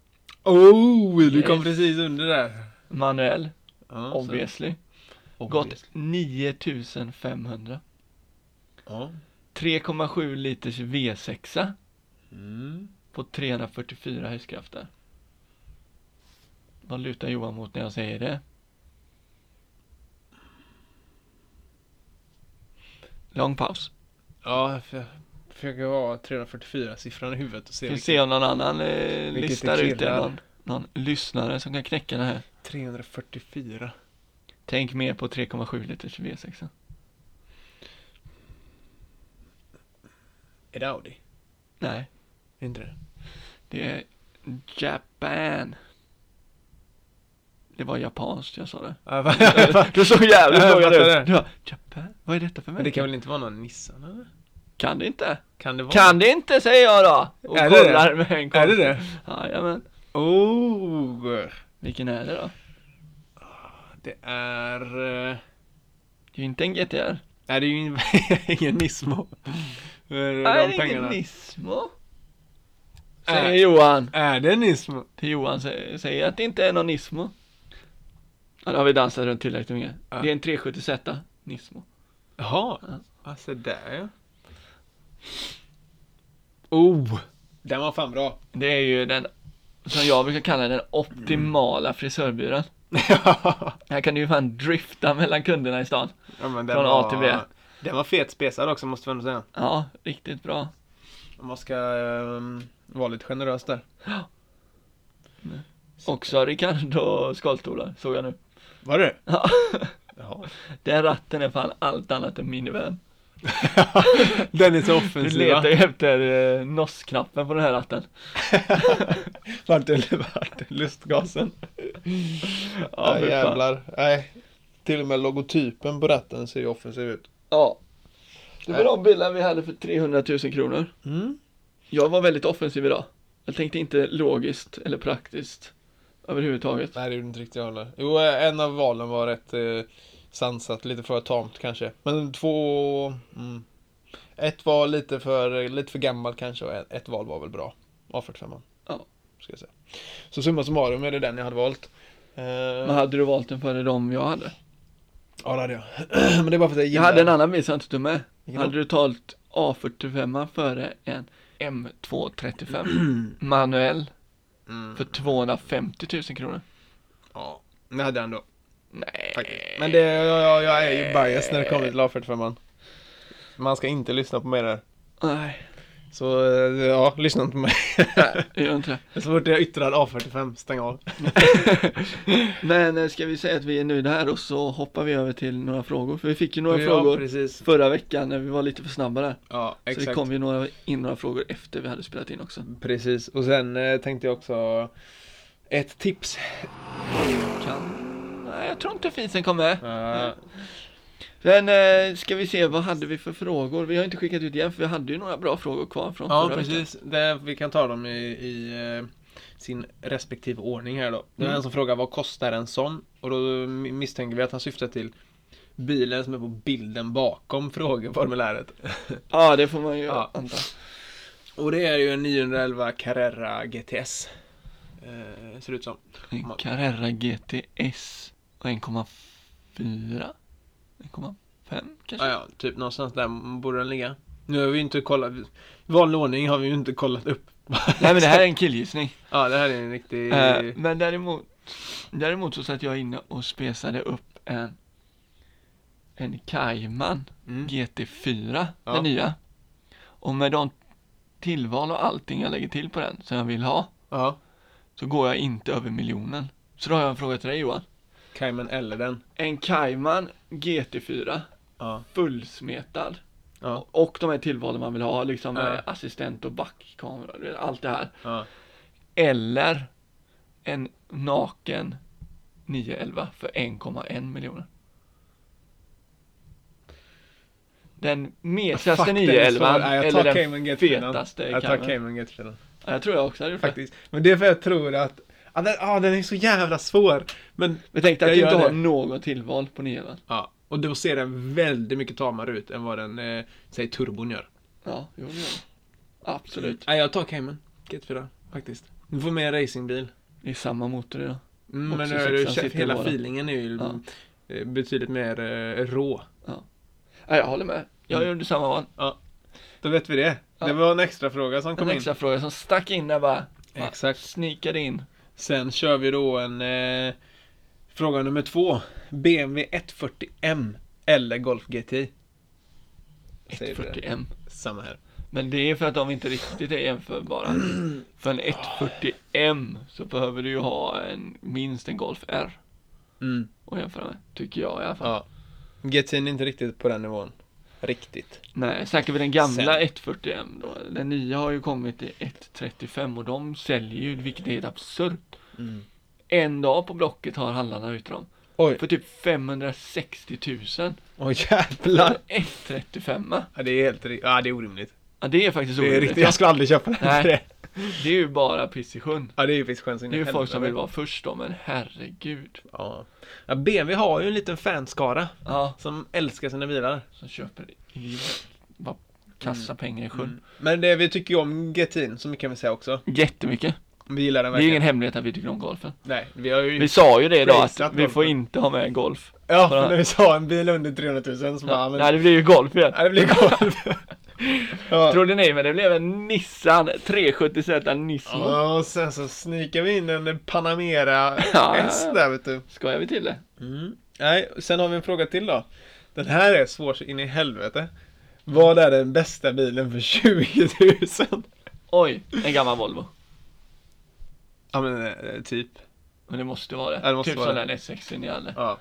Oh, du kom
Yes.
precis under där.
Manuell,
Ja, så-
obviously. Gått
Obvious.
9500.
Ja.
3,7 liters V6
Mm.
på 344 hästkrafter. Vad lutar Johan mot när jag säger det? Lång paus.
Ja, jag f- försöker ha 344-siffran i huvudet och se
Vi får
vilken-
se om någon annan eh,
vilket
listar
det
ut det.
klirrar.
Någon, någon lyssnare som kan knäcka det här.
344.
Tänk mer på 3,7 liters V6.
Är det Audi?
Nej,
Är inte det?
det är Japan. Det var japanskt jag sa det.
Ja, va- va- va-
Du såg jävligt
Jag
nöjd
fattar
ut.
det.
Du bara, Japan, vad är detta för
Men det
märke?
kan väl inte vara någon Nissan eller?
Kan det inte?
Kan det vara?
Kan det inte säger jag då! Och
Är det
kollar med en
Är det
konstig-
det?
Jajamän.
Oh!
Vilken är det då?
Det är... eh,
Det är ju inte en GTR.
Nej, det är ju in- ingen Nismo. För
Nej,
de
det är ingen
pengarna.
Nismo.
Äh.
Säger Johan.
Är det en Nismo?
Till Johan sä- säger att det inte är någon Nismo. Ja, det har vi dansat runt tillräckligt mycket.
Ja.
Det är en 370Z Nismo.
Jaha.
Ja.
Alltså där ja. Oh! Den var fan bra.
Det är ju den, som jag brukar kalla den optimala
Mm.
frisörbyrån.
ja
Här kan du ju fan drifta mellan kunderna i stan.
men den
Från A
var...
till B.
Den var fet spesad också måste man ändå säga.
Ja, riktigt bra.
Om man ska ehm, vara lite generös där.
Också Ricardo skalstolar, såg jag nu.
Var det?
Ja.
Jaha.
Den ratten är fan allt annat än minivan.
den är så
Du
offensiv
letar
va?
ju efter eh, NOS-knappen på den här ratten.
Vart det vart det lustgasen?
Ja, fy fan.
Nej. Till och med logotypen på ratten ser ju offensiv ut.
Ja. Det var de bilar vi hade för 300 000 kronor.
Mm.
Jag var väldigt offensiv idag. Jag tänkte inte logiskt eller praktiskt överhuvudtaget.
Nej, det gjorde inte riktigt jag heller. Jo, eh, en av valen var rätt eh, sansat, lite för tamt kanske. Men två... Mm. Ett var lite för, lite för gammalt kanske och ett- ett val var väl bra. A45.
Ja.
Ska jag säga. Så summa summarum är det den jag hade valt. Eh,
Men hade du valt den före de jag hade?
Ja, det hade jag. Men det är bara för att jag
Jag
gillar...
hade en annan bil som jag inte tog med.
Vilken
Hade du tagit A45 före en M235 manuell
Mm.
för 250 000 kronor?
Ja, det hade jag ändå. faktiskt.
Nej.
Men det, jag, jag, jag är ju bias när det kommer till A45. Man ska inte lyssna på mig där.
Nej,
Så eh, ja, lyssna inte på mig.
jag gör inte det.
Så fort jag yttrar A45, stäng av.
Men eh, ska vi säga att vi är nöjda här och så hoppar vi över till några frågor. För vi fick ju några
ja,
frågor
precis.
förra veckan när vi var lite för snabba där.
Ja,
Så det
exakt.
kom ju några, in några frågor efter vi hade spelat in också.
Precis. Och sen eh, tänkte jag också ett tips.
Kan... Nej, jag tror inte fisen kom med.
Eh,
Men eh, ska vi se, vad hade vi för frågor? Vi har inte skickat ut igen för vi hade ju några bra frågor kvar från
ja,
förra veckan.
precis. Det, vi kan ta dem i, i eh, sin respektive ordning här då. Det var
Mm.
en som frågar vad kostar en sån? Och då misstänker vi att han syftar till bilen som är på bilden bakom frågeformuläret.
Ja, det får man ju
Ja.
anta.
Och det är ju en 911 Carrera GTS. Eh, ser det ut som.
En Carrera GTS och 1,4? 1,5 kanske?
Ja, ja, typ någonstans där borde den ligga. Nu har vi ju inte kollat, i vanlig ordning har vi ju inte kollat upp.
Nej men det här är en killgissning.
Ja, det här är en riktig...
Eh, men däremot, däremot så satt jag inne och spesade upp en en Cayman
Mm.
GT4,
Ja.
den nya. Och med de tillval och allting jag lägger till på den som jag vill ha,
Ja,
så går jag inte över miljonen. Så då har jag en fråga till dig Johan.
Cayman eller den.
En Cayman GT4,
Ja.
fullsmetad.
Ja.
Och de här tillvalen man vill ha, liksom
Ja.
eh, assistent och backkamera, du vet, allt det här.
Ja.
Eller en naken 911 för 1,1 miljoner. Den mesigaste
Fuck, den är svår.
911
Nej, jag tar
eller den
Cayman GT
fetaste
Jag tar
Cayman.
Cayman GT4.
Ja, jag tror jag också hade gjort det.
Faktiskt. Men det är för jag tror att... Ja, den, ah, den är så jävla svår. Men...
Men tänk dig
Jag
att du
gör
inte har
det.
något tillval på 911.
Ja. Och då ser den väldigt mycket tamare ut än vad den, eh, säg turbon gör.
Ja, jo det gör det. Absolut.
Mm. Nej, jag tar Cayman GT4 faktiskt. Du får med en racingbil.
Det är samma motor idag.
Mm,
Också
men nu är
sexan
det,
sitter i
hela
båda.
feelingen är ju
Ja.
eh, betydligt mer eh, rå.
Ja, jag håller med. Jag
Mm.
gjorde samma val.
Då vet vi det.
Ja.
Det var en extra fråga som kom
En
in.
extra fråga som stack in där bara. Ja.
Exakt.
Snikade in.
Sen kör vi då en eh, fråga nummer två. BMW 140M eller Golf GTI? Säger du det?
141.
Samma här.
Men det är för att de inte riktigt är jämförbara. För en 140M så behöver du ju ha en, minst en Golf R
Mm,
att jämföra med. Tycker jag i alla fall.
ja. GTI är inte riktigt på den nivån. Riktigt.
Nej, säkert vid den gamla
Sen-
140M då. Den nya har ju kommit i 135 och de säljer ju, vilket är helt absurt. En dag på Blocket har handlarna ut dem.
Mm. Oj,
För typ 560 000.
oj
För
jävlar.
en 135.
Ja, det är helt ri- ja, det är orimligt.
Ja, det är faktiskt
Det är
orimligt.
riktigt. Jag skulle aldrig köpa den.
Nej.
för det.
Det är ju bara piss i sjön.
Ja, det är ju faktiskt skönt.
Det är ju folk som vill vara först då, men herregud.
Ja. ja, BMW har ju en liten fanskara
Ja,
som älskar sina bilar.
som köper i bara
Mm.
kassa pengar i sjön.
Men det, vi tycker ju om GTI'n, så mycket kan vi säga också.
Jättemycket.
Vi gillar den
Det är
verkligen.
ingen hemlighet att vi tycker om golfen.
Nej, vi har ju...
Vi sa ju det idag att
Ratat
vi får
golfen.
inte ha med golf.
Ja, för när vi sa en bil under 300 000 så bara,
Ja,
men...
Nej, det blir ju golf igen.
Ja, det blir golv. ja.
Trodde ni, men det blev en Nissan 370Z Nismo.
Ja, och sen så sniker vi in en Panamera
Ja.
S där vet du.
Skojar vi till det?
Mm. Nej, sen har vi en fråga till då. Den här är svår så in i helvete. Vad är den bästa bilen för 20 000?
Oj, en gammal Volvo.
Ja men eh, typ.
Men det måste vara det.
Ja, det måste
typ
vara
som den S60 ni hade.
Ja.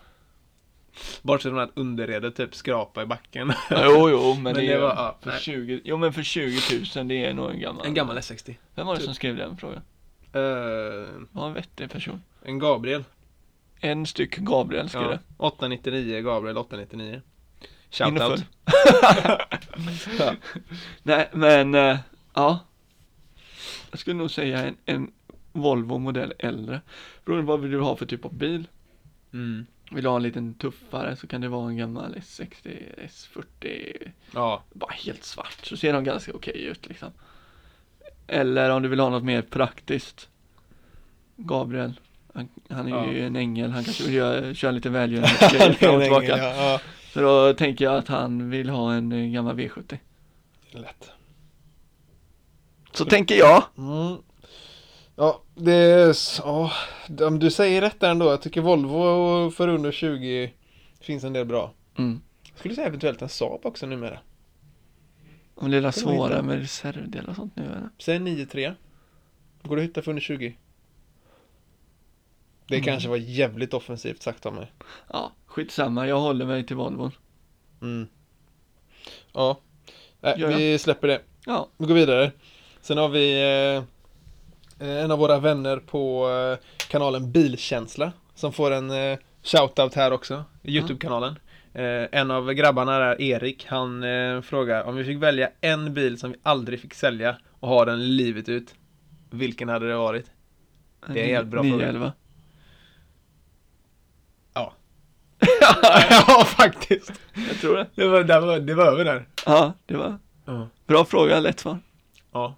Bortsett från att underredet typ skrapa i backen.
Jo, jo, men, det, är
var-
var,
ja,
för
nej.
20, jo, men för 20 000 det är nog en gammal.
En gammal S60.
Vem var det
typ.
som skrev den frågan?
Eh,
Det var en vettig person.
en Gabriel.
En styck Gabriel skrev
Ja.
det.
899 Gabriel 899.
Inneför.
Shoutout. Ja.
Nej, men eh, ja. Jag skulle nog säga en, en Volvo modell äldre. Beroende på vad vill du ha för typ av bil.
Mm.
Vill du ha en liten tuffare så kan det vara en gammal S60, S40.
Ja.
Bara helt svart så ser de ganska okej ut liksom. Eller om du vill ha något mer praktiskt. Gabriel. Han, han är ju en ängel, han kanske vill göra, köra lite välgörande grejer fram och tillbaka.
Ja,
Så då tänker jag att han vill ha en eh, gammal V70.
ja. Lätt.
Så tänker jag.
Mm. Ja, det är... s- Ja, om du säger rätt där ändå. Jag tycker Volvo för under 20 finns en del bra.
Mm.
Jag skulle säga eventuellt en Saab också numera.
Om det är
Kan man
svårare
hitta?
med reservdelar och sånt nu eller?
Säg 9-3. Går det att hitta för under 20? Det
Mm.
kanske var jävligt offensivt sagt av mig.
Ja, skitsamma, jag håller mig till Volvon.
Mm. Ja. Nej,
Gör jag?
vi släpper det.
Ja,
Vi går vidare. Sen har vi eh, en av våra vänner på eh, kanalen Bilkänsla som får en eh, shoutout här också, Youtube-kanalen. Eh, en av grabbarna där, Erik, han eh, frågar om vi fick välja en bil som vi aldrig fick sälja och ha den livet ut. Vilken hade det varit? Det är en jävligt bra fråga.
911.
Ja. ja, faktiskt.
Jag tror det.
Det var, det var, det var över där.
Ja, det var
Ja.
bra fråga, lätt svar.
Ja.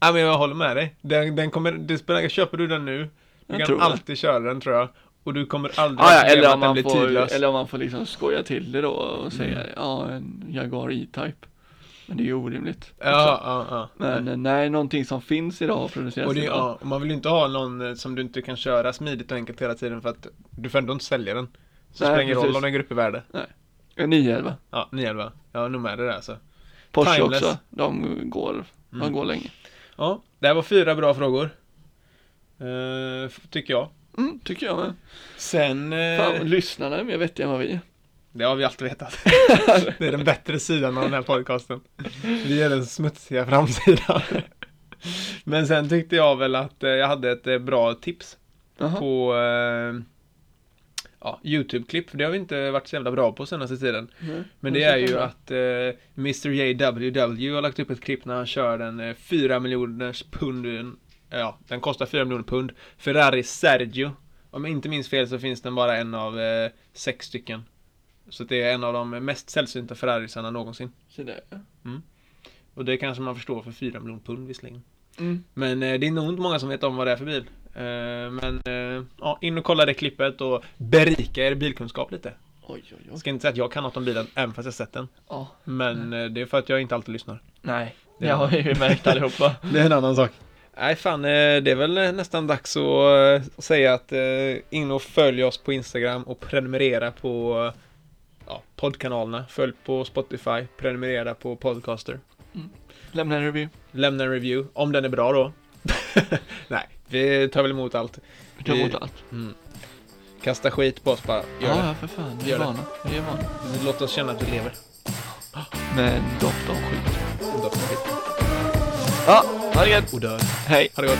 Ja, men jag håller med dig. Den, den kommer, det spelar, köper du den nu, du
Jag
kan
tror det.
alltid köra den tror jag. Och du kommer aldrig
Ah,
ha
ja,
problem
eller, om
att den
man
blir
får,
tidlös. Mm.
eller om man får liksom skoja till det då och säga ja, en Jaguar E-Type. Men det är ju orimligt.
Ja, ja, ja.
Men eh, nej, någonting som finns idag och produceras
Och det,
idag.
ja, och man vill ju inte ha någon eh, som du inte kan köra smidigt och enkelt hela tiden för att du får ändå inte sälja den. Så
Nej,
spelar ingen roll
precis.
om den går upp i värde.
En 911.
Ja, 911. Jag är nog med dig där alltså.
Porsche
Timeless. Mm.
också. De går, de går länge.
Ja, det här var fyra bra frågor. Eh, f- tycker jag.
Mm, tycker jag med.
Sen... eh,
Fan, lyssnarna är mer vettiga än vad vi är.
Det har vi alltid vetat. Det är den bättre sidan av den här podcasten. Vi är den smutsiga framsidan. Men sen tyckte jag väl att eh, jag hade ett eh, bra tips
Jaha.
på eh, ja, YouTube-klipp. För det har vi inte varit så jävla bra på senaste tiden.
Nej.
Men det är ju att eh, Mr JWW har lagt upp ett klipp när han kör den eh, 4 miljoners pund. eh, Ja, den kostar 4 miljoner pund. Ferrari Sergio. Om jag inte minns fel så finns den bara en av eh, sex stycken. Så det är en av de mest sällsynta Ferrarisarna någonsin.
Så där, ja.
Och det kanske man förstår för 4 miljoner pund visserligen.
Mm.
Men eh, det är nog inte många som vet om vad det är för bil. Eh, Men eh, ja, in och kolla det klippet och berika er bilkunskap lite.
Oj, oj,
Jag
oj.
ska inte säga att jag kan något om bilen, även fast jag sett den.
Ja,
Men eh, det är för att jag inte alltid lyssnar.
nej.
Det-
ah. Det har vi ju märkt allihopa.
Det är en annan sak. Nej fan, eh, det är väl nästan dags att eh, säga att eh, in och följ oss på Instagram och prenumerera på eh, ja, poddkanalerna. Följ på Spotify, prenumerera på Podcaster.
Lämna en review.
Lämna en review, om den är bra då. Nej, vi tar väl emot allt.
Vi tar
Vi-
emot allt.
Kasta skit på oss bara. Gör
Ja, ja, för fan. Vi
Gör
är
det.
vana. Vi är vana.
det. Låt oss känna att vi lever.
Men doft av skit.
Doftar skit.
Ja, ha det gött.
Och dör.
Hej.
Ha det gott.